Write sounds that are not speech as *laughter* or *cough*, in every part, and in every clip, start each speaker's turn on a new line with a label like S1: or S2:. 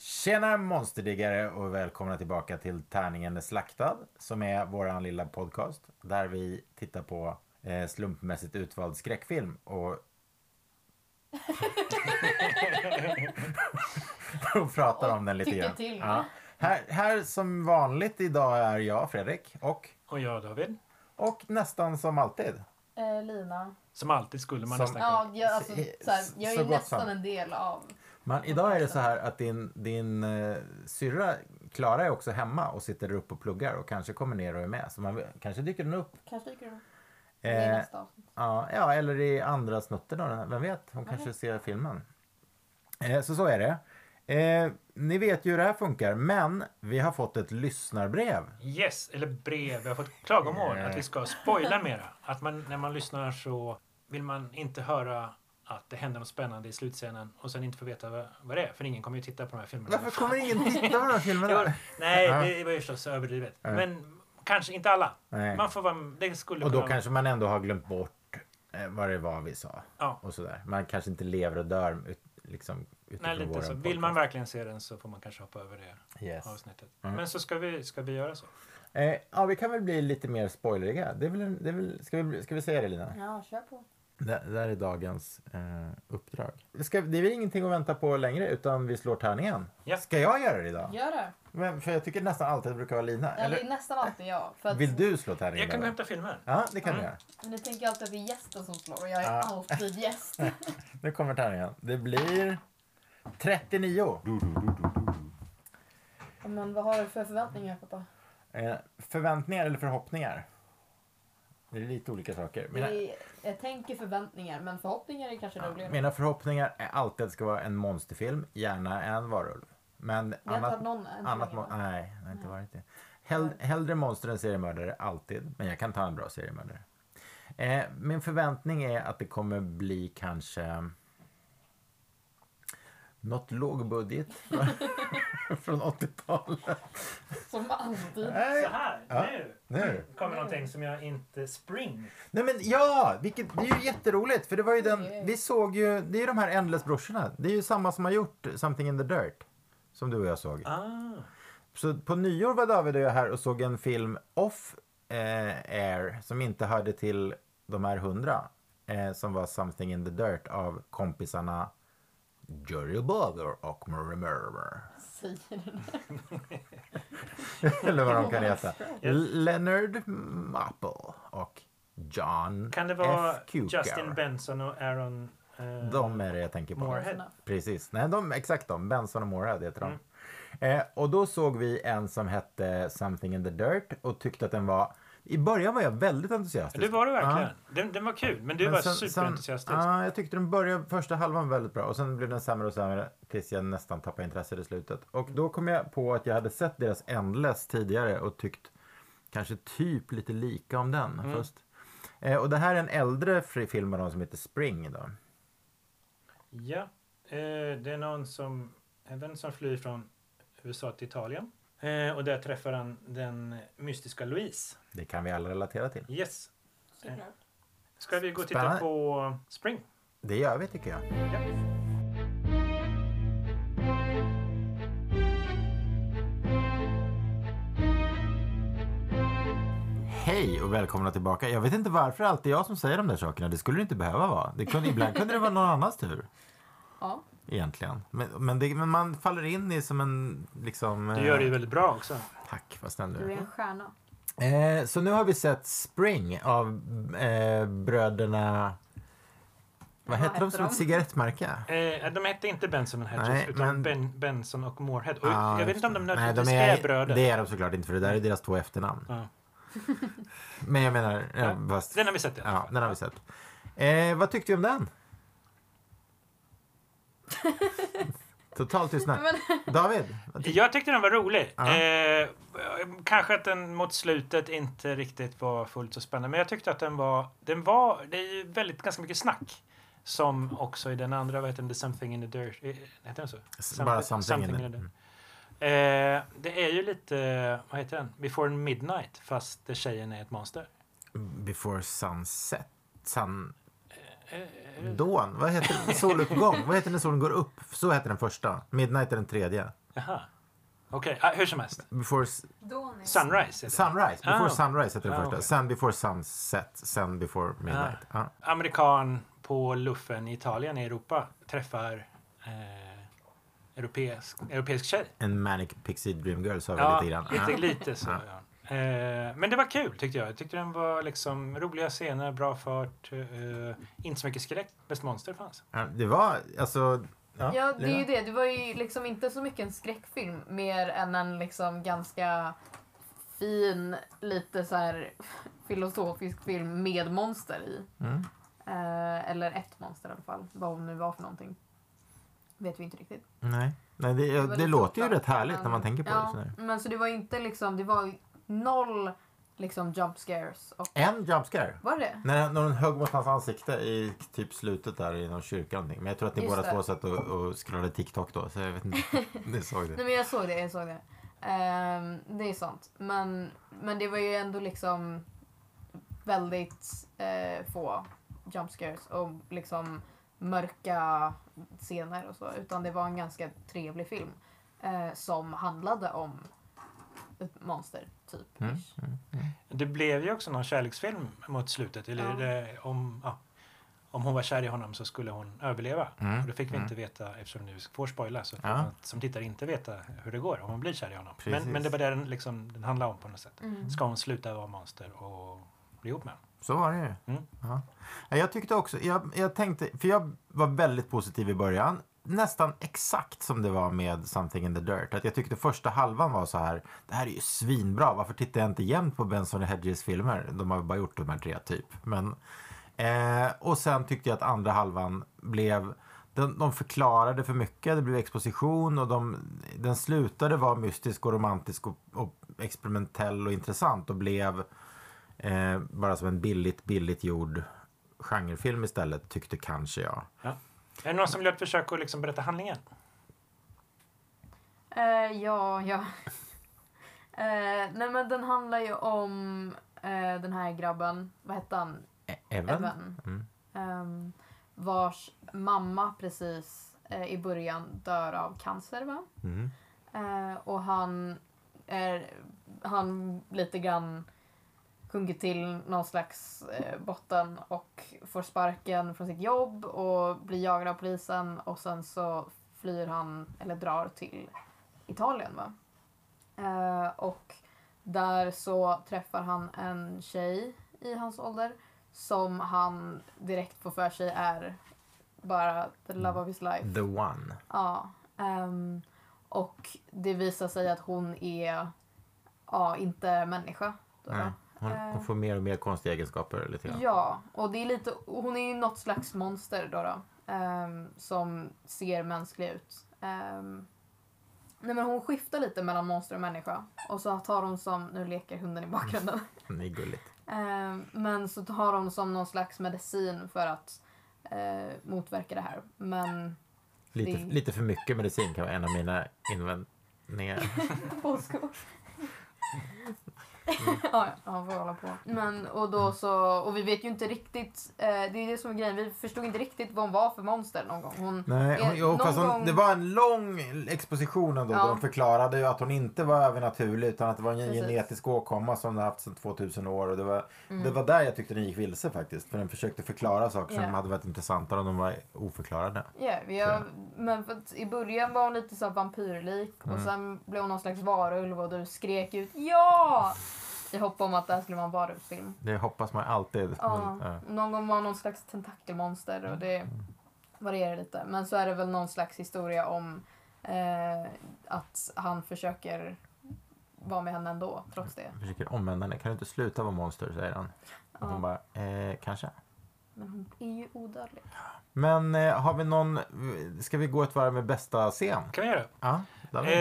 S1: Tjena monsterdiggare och välkomna tillbaka till Tärningen är slaktad som är våran lilla podcast där vi tittar på eh, slumpmässigt utvald skräckfilm och *laughs* och pratar om den lite
S2: tycker
S1: grann.
S2: till.
S1: Ja. Här, här som vanligt idag är jag Fredrik och,
S3: Och jag David.
S1: och nästan som alltid.
S2: Eh, Lina.
S3: Som alltid skulle man
S1: Som-
S3: nästan kunna.
S2: Ja, jag, alltså,
S1: Så-
S2: så här, jag är
S1: så
S2: ju
S1: gott
S2: nästan
S1: som.
S2: en del av...
S1: Men idag är det så här att din, din eh, syrra Klara är också hemma och sitter upp och pluggar och kanske kommer ner och är med. Så man kanske dyker den upp.
S2: Kanske dyker det upp. Det är
S1: Eh,
S2: nästa avsnitt.
S1: ja, ja, eller i andra snutten av den här. Vem vet? Hon kanske ser filmen. Eh, så så är det. Eh, ni vet ju hur det här funkar, men vi har fått ett lyssnarbrev.
S3: Yes, eller brev. Vi har fått klagomål att vi ska spoila mera. Att man, när man lyssnar så vill man inte höra att det händer något spännande i slutscenen och sen inte få veta vad, vad det är. För ingen kommer ju titta på de här filmerna.
S1: Varför kommer ingen titta på de här
S3: *laughs*
S1: filmerna?
S3: Nej, det var ju förstås överdrivet. Men kanske inte alla.
S1: Nej.
S3: Man får vara... Det skulle
S1: Och då
S3: kunna-
S1: kanske man ändå har glömt bort eh, vad det var vi sa.
S3: Ja.
S1: Och sådär. Man kanske inte lever och dör ut, liksom, utifrån
S3: Nej, lite
S1: våran
S3: så. Vill
S1: podcast.
S3: man verkligen se den så får man kanske hoppa över det
S1: Yes. Mm.
S3: avsnittet. Men så ska vi, ska vi göra så.
S1: Eh, ja, vi kan väl bli lite mer spoileriga. Det är väl, en- det är väl, ska, vi, bli- ska vi säga det, Lina?
S2: Ja, kör på.
S1: Det, det här är dagens eh, uppdrag. Ska, det är väl ingenting att vänta på längre, utan vi slår tärningen.
S3: Ja.
S1: Ska jag göra det idag?
S2: Gör det.
S1: Men, för jag tycker nästan alltid att det brukar vara Lina.
S2: Ja, det är
S1: Eller,
S2: nästan alltid jag. För att,
S1: vill du slå tärningen?
S3: Jag kan gå
S1: Bella?
S3: hämta filmer.
S1: Ja, det kan du
S3: Mm.
S1: göra.
S2: Men ni tänker alltid att det är gästen som slår och jag är
S1: Ja.
S2: alltid
S1: *laughs*
S2: gäst.
S1: Nu kommer tärningen. Det blir 39.
S2: Men vad har du för förväntningar pappa?
S1: Eh, förväntningar eller förhoppningar? Det är lite olika saker. Mina,
S2: Vi, jag tänker förväntningar, men förhoppningar är kanske roligare.
S1: mina förhoppningar är alltid att det ska vara en monsterfilm, gärna en varulv. Men
S2: Vi har inte
S1: annat,
S2: haft någon än så
S1: annat
S2: länge,
S1: mo-
S2: va?
S1: Nej, det har inte varit det. Hell, hellre monster än seriemördare, alltid. Men jag kan ta en bra seriemördare. Eh, min förväntning är att det kommer bli kanske något lågbudget *laughs* från 80-talet.
S2: Som alltid.
S1: *laughs*
S3: Så
S1: Nej,
S3: här,
S1: Ja.
S3: nu.
S1: nu.
S3: kommer någonting som jag inte... Spring.
S1: Nej men ja, vilket, det är ju jätteroligt för det var ju
S2: Oj, oj.
S1: den, vi såg ju, det är ju de här Endless-brorsorna. Det är ju samma som har gjort Something in the Dirt. Som du och jag såg.
S3: Ah.
S1: Så på nyår var David och jag här och såg en film off eh, air som inte hörde till de här hundra. Eh, som var Something in the Dirt av kompisarna Jerry Butler och Murray Murray.
S2: Säger du det?
S1: *laughs* Eller vad de kan heta.
S3: *laughs* Yes.
S1: Leonard Maple och John
S3: Kan det vara
S1: F. Kukar.
S3: Justin Benson och Aaron... eh,
S1: De är det jag tänker på.
S3: Moorhead.
S1: Precis. Nej, de, exakt de. Benson och Moorhead heter de.
S3: Mm.
S1: Eh, och då såg vi en som hette Something in the Dirt och tyckte att den var... I början var jag väldigt entusiastisk.
S3: Det var det
S1: Ja.
S3: verkligen. Den, den var kul, men du
S1: Men
S3: var
S1: sen- sen-
S3: superentusiastisk.
S1: Ja, jag tyckte den började, första halvan var väldigt bra och sen blev den sämre och sämre tills jag nästan tappade intresset i slutet. Och då kom jag på att jag hade sett deras Endless tidigare och tyckt kanske typ lite lika om den
S3: Mm.
S1: först. Eh, och det här är en äldre fri film av dem som heter Spring då.
S3: Ja. Eh, det är någon som... En vän som flyr från USA till Italien. Eh, och där träffar han den mystiska Louise.
S1: Det kan vi alla relatera till.
S3: Yes.
S2: Såklart.
S1: Eh.
S3: Ska vi gå och titta
S1: Spännande.
S3: på Spring?
S1: Det gör vi tycker jag.
S3: Ja.
S1: Hej och välkomna tillbaka. Jag vet inte varför det alltid är jag som säger de där sakerna. Det skulle det inte behöva vara. Det kunde, ibland kunde det vara någon annans tur
S2: Ja.
S1: egentligen. Men, men, det, men man faller in i som en liksom...
S3: Du gör det ju väldigt bra också.
S1: Tack, vad snäll
S2: Du
S1: du
S2: är
S1: är.
S2: en stjärna.
S1: Eh, så nu har vi sett Spring av eh, bröderna... Vad hette de
S2: hette
S1: som ett
S2: de?
S1: cigarettmärke?
S3: Eh, de hette inte Benson och Hedges,
S1: Nej,
S3: utan
S1: men-
S3: ben, Benson och Moorhead. Och
S1: Ja,
S3: jag vet inte om de
S1: Nej,
S3: nödvändigtvis är, bröder.
S1: Det är de såklart inte, för det där är deras två efternamn.
S3: Ja.
S1: *laughs* Men jag menar... Eh, fast,
S3: Den har vi sett i alla
S1: ja,
S3: fall.
S1: den har vi sett. Eh, vad tyckte vi om den? Total tystnad. David? vad tyckte-
S3: Jag tyckte den var rolig.
S1: Typ. Ja.
S3: Eh, kanske att den mot slutet inte riktigt var fullt så spännande. Men jag tyckte att den var... Den var det är ju väldigt, ganska mycket snack. Som också i den andra, vad heter den? The Something in the Dirt. eh, Heter den så?
S1: Bara something, in the... Mm.
S3: Dirt. Eh, det är ju lite, vad heter den? Before Midnight, fast där tjejen är ett monster.
S1: Mm. Before sunset. Sun...
S3: Eh, eh,
S1: Dawn? Vad heter den? Soluppgång? Vad heter den när solen går upp? Så heter den första. Midnight är den tredje.
S3: Jaha. Okej, ah, hur som helst.
S1: Before s-
S4: Dawning.
S3: Sunrise. heter den.
S1: Sunrise, before
S3: Ah.
S1: sunrise heter den
S3: Ah,
S1: första.
S3: okej. Ah.
S1: Sen before sunset, sen before midnight. Ah. Ja.
S3: Amerikan på luffen i Italien i Europa träffar eh, europeisk, europeisk tjej.
S1: En manic pixie dream girl sa vi
S3: Ja,
S1: lite grann. Ah.
S3: lite,
S1: Ja.
S3: lite så.
S1: Ja.
S3: Ja. Eh, men det var kul tyckte jag. Jag tyckte den var liksom roliga scener, bra fart, eh, inte så mycket skräck. Bäst monster fanns.
S1: Ja, Ah, det var alltså... Ja,
S2: Ja, det är ju
S1: Lena?
S2: det. Det var ju liksom inte så mycket en skräckfilm mer än en liksom ganska fin, lite så här filosofisk film med monster i.
S1: Mm.
S2: Eh, eller ett monster i alla fall, vad hon nu var för någonting. Vet vi inte riktigt.
S1: Nej, Nej det,
S2: var
S1: det
S2: lite
S1: låter ju
S2: oklart,
S1: rätt härligt när
S2: men-
S1: man tänker på det.
S2: ja,
S1: Sådär.
S2: Men så det var ju inte liksom, det var ju noll liksom jump scares. Och,
S1: En jump scare.
S2: var det
S1: När, när hon högg mot hans ansikte i typ slutet där i någon kyrka eller någonting. Men jag tror att ni
S2: Just
S1: båda
S2: det.
S1: två satt och, och scrollade TikTok då. Så jag vet
S2: *laughs*
S1: inte. ni såg det.
S2: Nej men jag såg det, jag såg det. Ehm, det är sant. Men, men det var ju ändå liksom väldigt eh, få jump scares och liksom mörka scener och så. Utan det var en ganska trevlig film eh, som handlade om ett monster, typ.
S1: Mm.
S2: ish.
S3: Det blev ju också någon kärleksfilm mot slutet. Eller
S2: Ja.
S3: det, om, ja, om hon var kär i honom så skulle hon överleva.
S1: Mm,
S3: Och det fick vi
S1: mm.
S3: inte veta, eftersom nu får spoila, så får
S1: Ja.
S3: man som tittare inte veta hur det går om hon blir kär i honom. Men,
S1: Precis.
S3: men det var det den, liksom, den handlade om på något sätt.
S2: Mm.
S3: Ska hon sluta vara monster och bli ihop med honom?
S1: Så var det ju.
S3: Mm.
S1: Ja. Ja, Jag tyckte också, jag, jag tänkte, för jag var väldigt positiv i början. Nästan exakt som det var med Something in the Dirt. Att jag tyckte första halvan var så här, det här är ju svinbra. Varför tittar jag inte jämt på Benson och Hedges filmer? De har ju bara gjort de här tre typ. Men, eh, och sen tyckte jag att andra halvan blev, den, de förklarade för mycket. Det blev exposition och de, den slutade vara mystisk och romantisk och, och experimentell och intressant och blev Eh, bara som en billigt, billigt gjord genrefilm istället, tyckte kanske jag.
S3: Är det någon som vill göra ett försök att liksom berätta handlingen?
S2: Eh, ja, ja. *laughs* Eh, nej men den handlar ju om eh, den här grabben, vad hette han?
S1: E- Evan?
S2: Evan.
S1: Mm.
S2: Ehm, vars mamma precis eh, i början dör av cancer. Va?
S1: Mm.
S2: Eh, och han är han lite grann sjunkit till någon slags eh, botten och får sparken från sitt jobb och blir jagad av polisen och sen så flyr han eller drar till Italien. Va? Eh, och där så träffar han en tjej i hans ålder som han direkt får för sig är bara the love of his life.
S1: The One.
S2: Ja. ehm, och det visar sig att hon är ja, inte människa. Då,
S1: Nej.
S2: va?
S1: Hon, hon får mer och mer konstiga egenskaper lite grann.
S2: Eh. Ja, och det är lite, hon är ju något slags monster då, då ehm, som ser mänsklig ut. Ehm, nej men hon skiftar lite mellan monster och människa och så tar hon som, nu leker hunden i bakgrunden.
S1: Det är gulligt.
S2: *laughs* Ehm, men så har de som någon slags medicin för att eh, motverka det här. Men
S1: Lite,
S2: Det-
S1: lite för mycket medicin kan vara en av mina invändningar.
S2: *laughs* Påskor. ja, Mm. ja, han får hålla på. Men, och, då så, och vi vet ju inte riktigt, eh, det är det som är grejen, vi förstod inte riktigt vad hon var för monster någon gång. Hon,
S1: Nej, hon,
S2: Eh,
S1: jo, fast
S2: någon
S1: hon,
S2: gång-
S1: det var en lång exposition ändå.
S2: Ja.
S1: Där de förklarade ju att hon inte var övernaturlig utan att det var en
S2: Precis.
S1: genetisk åkomma som hon haft sedan 2000 år. Och det, var, Mm.
S2: Mm.
S1: det var där jag tyckte den gick vilse faktiskt. För den försökte förklara saker
S2: Ja.
S1: som hade varit intressantare om de var oförklarade.
S2: Ja, vi har, men för att i början var hon lite så här vampyrlik
S1: Mm.
S2: och sen blev hon någon slags varulv och du skrek ut ja! I hopp om att det här skulle vara en varulvsfilm.
S1: Det hoppas man alltid.
S2: Ja,
S1: Men, eh, ja. Mm.
S2: någon gång var hon någon slags tentakelmonster och det varierar lite. Men så är det väl någon slags historia om eh, att han försöker vara med henne ändå, trots det.
S1: Jag försöker omvända henne. Kan du inte sluta vara monster? säger han. Och hon
S2: Ja,
S1: bara, eh, kanske.
S2: men hon är ju odödlig.
S1: Men eh, har vi någon, ska vi gå ett varv med bästa scen?
S3: Kan vi göra det?
S1: Ja, David.
S3: Eh,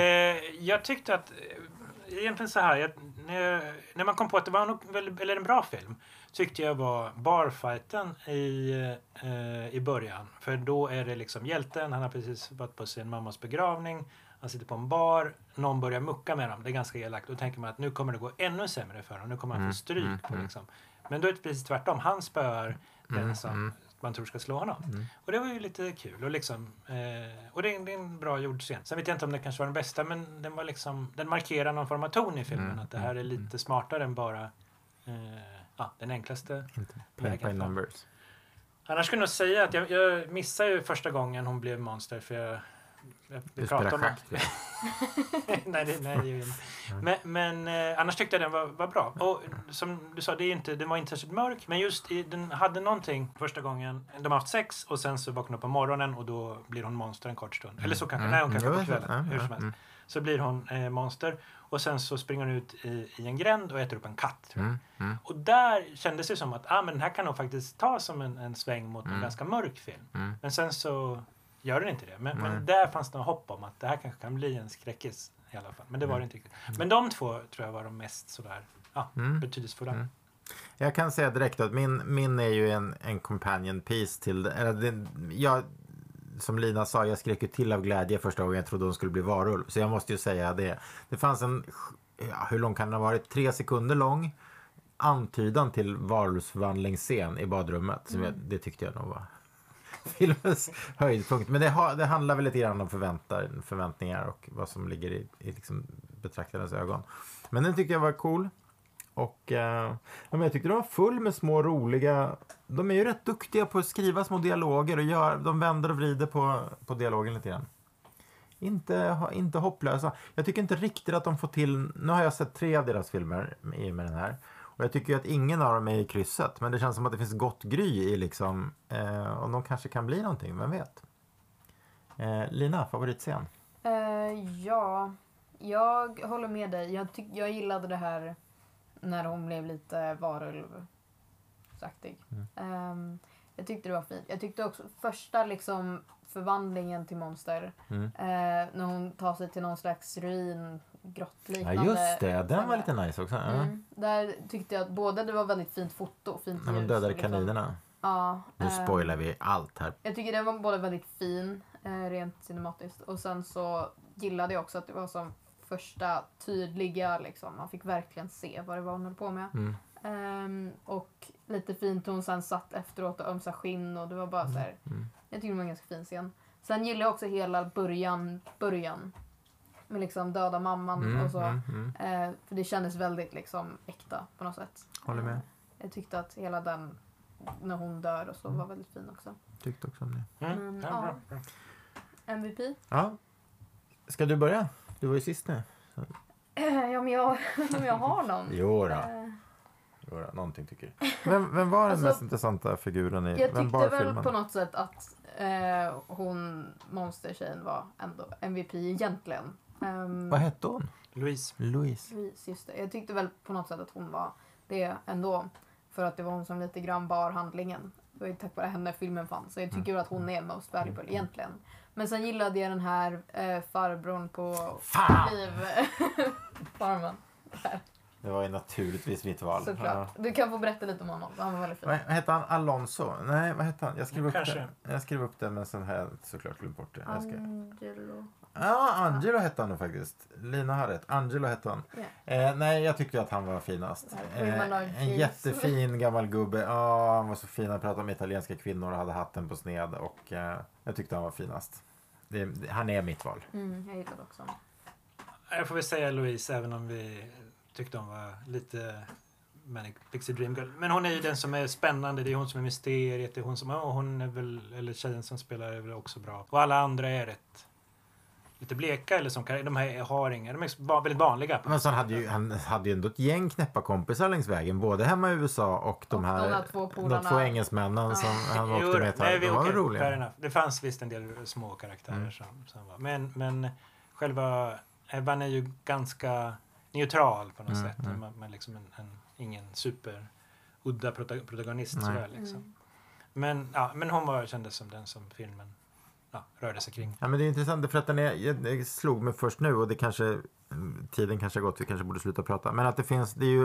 S3: jag tyckte att... eh, Egentligen så här, jag, när, när man kom på att det var en, väl- eller en bra film tyckte jag var barfighten i, eh, i början. För då är det liksom hjälten, han har precis varit på sin mammas begravning, han sitter på en bar, någon börjar mucka med dem, det är ganska elakt. Då tänker man att nu kommer det gå ännu sämre för honom, nu kommer han
S1: Mm,
S3: få stryk.
S1: mm,
S3: på
S1: mm.
S3: liksom. Men då är det precis tvärtom, han spöar den som man tror ska slå honom.
S1: Mm.
S3: Och det var ju lite kul. Och, liksom, eh, och det, är en, det är en bra gjord scen. Sen vet jag inte om det kanske var den bästa, men den, var liksom, den markerar någon form av ton i filmen.
S1: Mm,
S3: Att det här är lite smartare än bara eh, ja, den enklaste.
S1: Inte
S3: Nej,
S1: play
S3: det kan
S1: by
S3: jag ta.
S1: numbers.
S3: Annars skulle jag nog säga att jag, jag missade ju första gången hon blev monster. För jag, jag,
S1: Du
S3: vi
S1: spelar
S3: pratade om
S1: schack. ja.
S3: *laughs* nej, det, nej, det är ju- men, men eh, annars tyckte jag den var, var bra. Och som du sa, det är ju inte, den var inte särskilt mörk. Men just i, den hade någonting första gången. De har haft sex och sen så vaknar hon på morgonen och då blir hon monster en kort stund. Eller så kanske, nej hon kanske
S1: Mm.
S3: på
S1: Jo,
S3: kvällen.
S1: ja,
S3: hur
S1: ja,
S3: som helst.
S1: mm.
S3: Så blir hon eh, monster och sen så springer hon ut i, i en gränd och äter upp en katt. tror jag.
S1: Mm, mm,
S3: Och där kändes det som att ah, men den här kan nog faktiskt ta som en, en sväng mot en
S1: Mm.
S3: ganska mörk film.
S1: mm.
S3: Men sen så gör den inte det. Men,
S1: Nej.
S3: men där fanns det något hopp om att det här kanske kan bli en skräckis i alla fall. Men det var det inte riktigt. Men de två tror jag var de mest sådär ja,
S1: Mm.
S3: betydelsefulla.
S1: Mm. Jag kan säga direkt att min, min är ju en, en companion piece till det. Eller det jag, som Lina sa, jag skrek ju till av glädje första gången jag trodde hon skulle bli varulv. Så jag måste ju säga det. Det fanns en, ja, hur lång kan den ha varit? Tre sekunder lång antydan till varulvsvandlingsscen i badrummet. Som jag, det tyckte jag nog var *laughs* filmens höjdpunkt. Men det, har, det handlar väl lite grann om förväntar, förväntningar och vad som ligger i, i liksom betraktarens ögon. Men den tyckte jag var cool. Och eh, ja, men jag tyckte den var full med små roliga... De är ju rätt duktiga på att skriva små dialoger och gör, de vänder och vrider på, på dialogen lite grann. Inte, ha- inte hopplösa. Jag tycker inte riktigt att de får till... Nu har jag sett tre av deras filmer i och med den här. Och jag tycker ju att ingen av dem är i krysset. Men det känns som att det finns gott gry i liksom... Eh, och de kanske kan bli någonting, vem vet? Eh, Lina, favoritscen?
S2: Eh, ja, jag håller med dig. Jag, tyck- jag gillade det här när hon blev lite varulvaktig.
S1: Mm.
S2: Ehm, jag tyckte det var fint. Jag tyckte också första liksom förvandlingen till monster.
S1: Mm.
S2: eh, när hon tar sig till någon slags ruin,
S1: Ja,
S2: grottliknande.
S1: just det. Den var lite nice också. Ja.
S2: Mm. Där tyckte jag att både det var väldigt fint foto och fint
S1: När de
S2: ljus
S1: dödade
S2: och liksom-
S1: kaninerna.
S2: Ja.
S1: Nu
S2: ehm,
S1: spoilar vi allt här.
S2: jag tycker den var både väldigt fin, eh, rent cinematiskt, och sen så gillade jag också att det var som första tydliga, liksom, man fick verkligen se vad det var hon höll på med.
S1: Mm.
S2: Ehm, och lite fint hur hon sen satt efteråt och ömsade skinn och det var bara så här.
S1: Mm.
S2: jag tyckte det var en ganska fin scen. Sen gillade jag också hela början, början. Med liksom döda mamman och så.
S1: mm, mm.
S2: Eh, för det kändes väldigt liksom äkta på något sätt. Ehm,
S1: Håller med.
S2: Jag tyckte att hela den, när hon dör och så,
S1: Mm.
S2: var väldigt fin också.
S1: Tyckte också om det.
S3: Mm.
S2: Men,
S3: Ja, bra,
S2: ja.
S3: bra.
S2: MVP?
S1: Ja. Ska du börja? Du var ju sist nu.
S2: *clears throat* ja, men jag, *laughs* om jag har någon.
S1: Jo
S2: Eh,
S1: Jodå, någonting tycker du. Vem, vem var den
S2: Alltså,
S1: mest intressanta figuren i...
S2: Jag
S1: Vem
S2: tyckte
S1: bar
S2: väl
S1: filmen?
S2: på något sätt att eh, hon, monstertjejen, var ändå MVP egentligen. Um,
S1: Vad hette hon?
S3: Louise.
S1: Louise.
S2: Louise, just det. Jag tyckte väl på något sätt att hon var det ändå. För att det var hon som lite grann bar handlingen. Det var ju tack vare henne filmen fanns. Så jag tycker
S1: Mm.
S2: väl att hon är most valuable egentligen. Men sen gillade jag den här eh, farbrorn på
S1: Fan!
S2: *laughs* Farmen.
S1: Det var ju naturligtvis mitt val.
S2: Såklart. Du kan få berätta lite om honom. Han var väldigt
S1: Ja. Vad
S2: fin.
S1: vad hette han? Alonso? Nej, vad hette han? Jag skrev upp
S3: Kanske.
S1: det. Jag skrev upp det men sen har jag såklart glömt bort det. Jag ska...
S2: Angelo.
S1: Ja, Angelo hette han nog faktiskt. Lina har rätt. Angelo hette han.
S2: Ja.
S1: Eh, nej, jag tyckte att han var finast.
S2: Ja, Women are
S1: Eh, en
S2: kings.
S1: jättefin gammal gubbe. Ja, han var så fin. Han pratade om italienska kvinnor och hade hatten på sned. Och eh, jag tyckte han var finast. Det, det, han är mitt val.
S2: Mm, jag gillade också honom.
S3: Jag får väl säga Louise även om vi tyckte hon var lite Manic Pixie Dream Girl. Men hon är ju den som är spännande. Det är hon som är mysteriet. Det är hon som... Och hon är väl... Eller tjejen som spelar är väl också bra. Och alla andra är rätt... Lite bleka eller som kan... De här har inga... De är ba- väldigt vanliga.
S1: Men så han hade ju, han hade ju ändå ett gäng knäppa kompisar längs vägen. Både hemma i USA och de
S2: Och
S1: här,
S2: de där två polarna.
S1: de två engelsmännen som han
S3: Jo,
S1: åkte med.
S3: nej,
S1: Nej,
S3: vi-
S1: de var
S3: okej,
S1: väl
S3: fair
S1: roliga.
S3: enough. Det fanns visst en del små karaktärer
S1: Mm.
S3: som, som var. Men, men själva Evan är ju ganska neutral på något
S1: Mm,
S3: sätt.
S1: mm.
S3: Man, man liksom en, en, ingen super udda prota- protagonist.
S1: Nej.
S3: Sådär, liksom. men, ja, men hon var, kändes som den som filmen ja, rörde sig kring.
S1: Ja, men det är intressant för att den är, jag- jag slog mig först nu och det kanske, tiden kanske har gått, vi kanske borde sluta prata. Men att det finns, det är ju,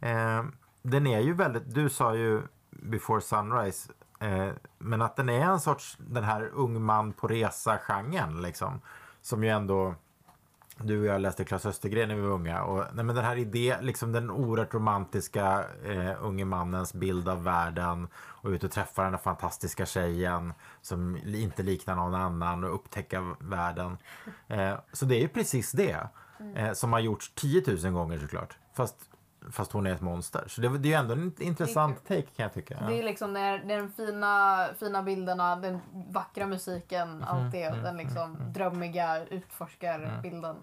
S1: eh, den är ju väldigt, du sa ju before sunrise, eh, men att den är en sorts den här ung man på resa-genren liksom. Som ju ändå du och jag läste Klas Östergren när vi var unga. Och, nej, men den här idén, liksom den oerhört romantiska eh, unge mannens bild av världen och ut och träffa den här fantastiska tjejen som li- inte liknar någon annan och upptäcka världen. Eh, så det är ju precis det eh, som har gjorts 10 000 gånger såklart. Fast, fast hon är ett monster. Så det, det är ju ändå en intressant take kan jag tycka.
S2: Det är liksom det är, det är de fina, fina bilderna, den vackra musiken, allt det. den liksom drömmiga utforskarbilden.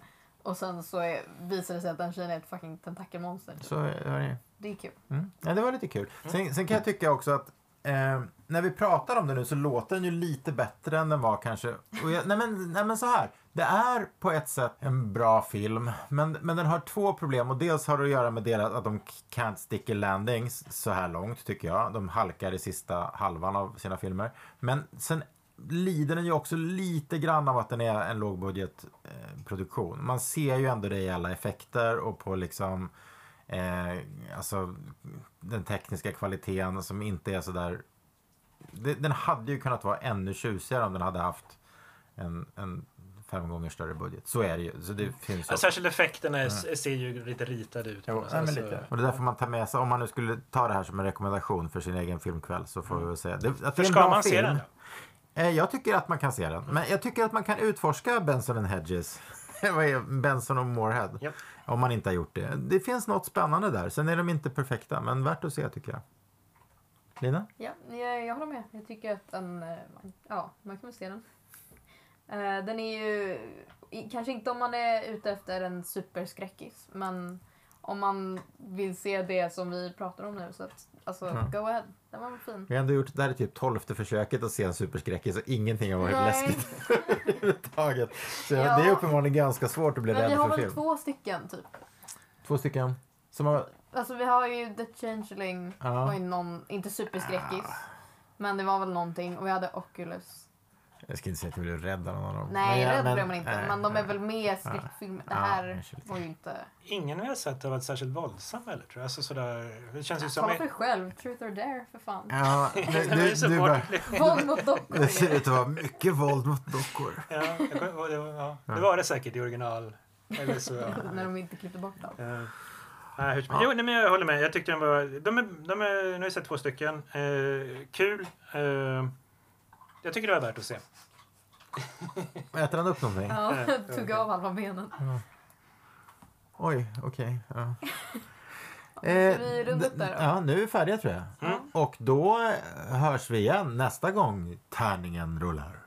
S2: Och sen så är, visar det sig att den tjejen är ett fucking tentakelmonster. typ.
S1: Så eh, är det.
S2: Det är kul.
S1: Mm. Ja, det var lite kul. Sen, sen kan jag tycka också att eh, när vi pratar om det nu så låter den ju lite bättre än den var kanske. Och jag, nej, men, nej men så här. Det är på ett sätt en bra film, men, men den har två problem. Och dels har det att göra med deras, att de can't stick a landings så här långt tycker jag. De halkar i sista halvan av sina filmer. Men sen lider den ju också lite grann av att den är en lågbudgetproduktion. Eh, produktion. Man ser ju ändå det i alla effekter och på liksom Eh, alltså den tekniska kvaliteten som inte är så där... Det- Den hade ju kunnat vara ännu tjusigare om den hade haft en, en fem gånger större budget. Så är det ju. Så det finns
S3: Ja,
S1: också.
S3: särskilt effekterna är, ser ju lite ritade ut. på
S1: Mm. Jo,
S3: något
S1: nej, men
S3: sätt, så-
S1: lite. Och det är därför man tar med sig, om man nu skulle ta det här som en rekommendation för sin egen filmkväll så får vi väl säga det, att det
S3: Mm. För
S1: är en
S3: ska
S1: bra
S3: man
S1: film.
S3: se den då?
S1: Eh, Jag tycker att man kan se den. Men jag tycker att man kan utforska Benson and Hedges. *laughs* Vad är Benson och Moorhead?
S3: Japp.
S1: Om man inte har gjort det. Det finns något spännande där. Sen är de inte perfekta, men värt att se tycker jag. Lina?
S2: Ja, jag, jag håller med. Jag tycker att den, eh, man- ja, man kan väl se den. Eh, Den är ju, i- kanske inte om man är ute efter en superskräckis, men om man vill se det som vi pratar om nu så att, alltså,
S1: Mm.
S2: go ahead. Den var väl fin.
S1: Vi har ändå gjort, det här är typ tolfte försöket att se en superskräckis och ingenting har varit
S2: Nej.
S1: läskigt överhuvudtaget. Så
S2: Ja.
S1: det är uppenbarligen ganska svårt att bli
S2: Men vi
S1: rädd
S2: har
S1: för
S2: väl
S1: film. Två...
S2: två stycken typ.
S1: stycken. Som har...
S2: Alltså vi har ju The Changeling,
S1: Ja. Ah.
S2: var ju någon, inte superskräckis. Men det var väl någonting och vi hade Oculus.
S1: Jag ska inte säga att jag blev rädd av någon av dem.
S2: Nej,
S1: Men-
S2: rädd
S1: men-
S2: blev man inte.
S1: nej,
S2: men de är
S1: nej. Ah.
S2: väl mer skräckfilmer. Det
S1: Ja,
S2: här
S1: kanske lite.
S2: var ju inte...
S3: Ingen vi har sett har varit särskilt våldsam eller tror jag. Alltså sådär, det känns ju som...
S2: Tala för dig själv. Truth or dare för fan.
S1: *laughs* Ja,
S2: *laughs*
S3: Det
S1: du,
S3: är
S1: du,
S3: så
S1: du bara...
S3: vårdligt.
S2: Våld mot dockor.
S1: Det ser ut att vara mycket våld mot dockor.
S3: Ja, jag kommer- det var- ja, det var det säkert i original. Eller så...
S2: *laughs* När de inte klippte bort allt.
S3: Eh, nej, hur som- Jo, nej, men jag håller med. Jag tyckte den var... De är, de är, nu har jag sett två stycken. Eh, kul. Eh, jag tycker det var värt att se.
S1: Äter han upp någonting?
S2: Ja, *laughs* tog av halva benen.
S1: Oj, okej.
S2: *laughs*
S1: ja. Eh,
S2: ska vi runda upp
S1: d-
S2: där då?
S1: Ja, nu är vi eh, färdiga tror jag. Och då hörs vi igen nästa gång tärningen rullar.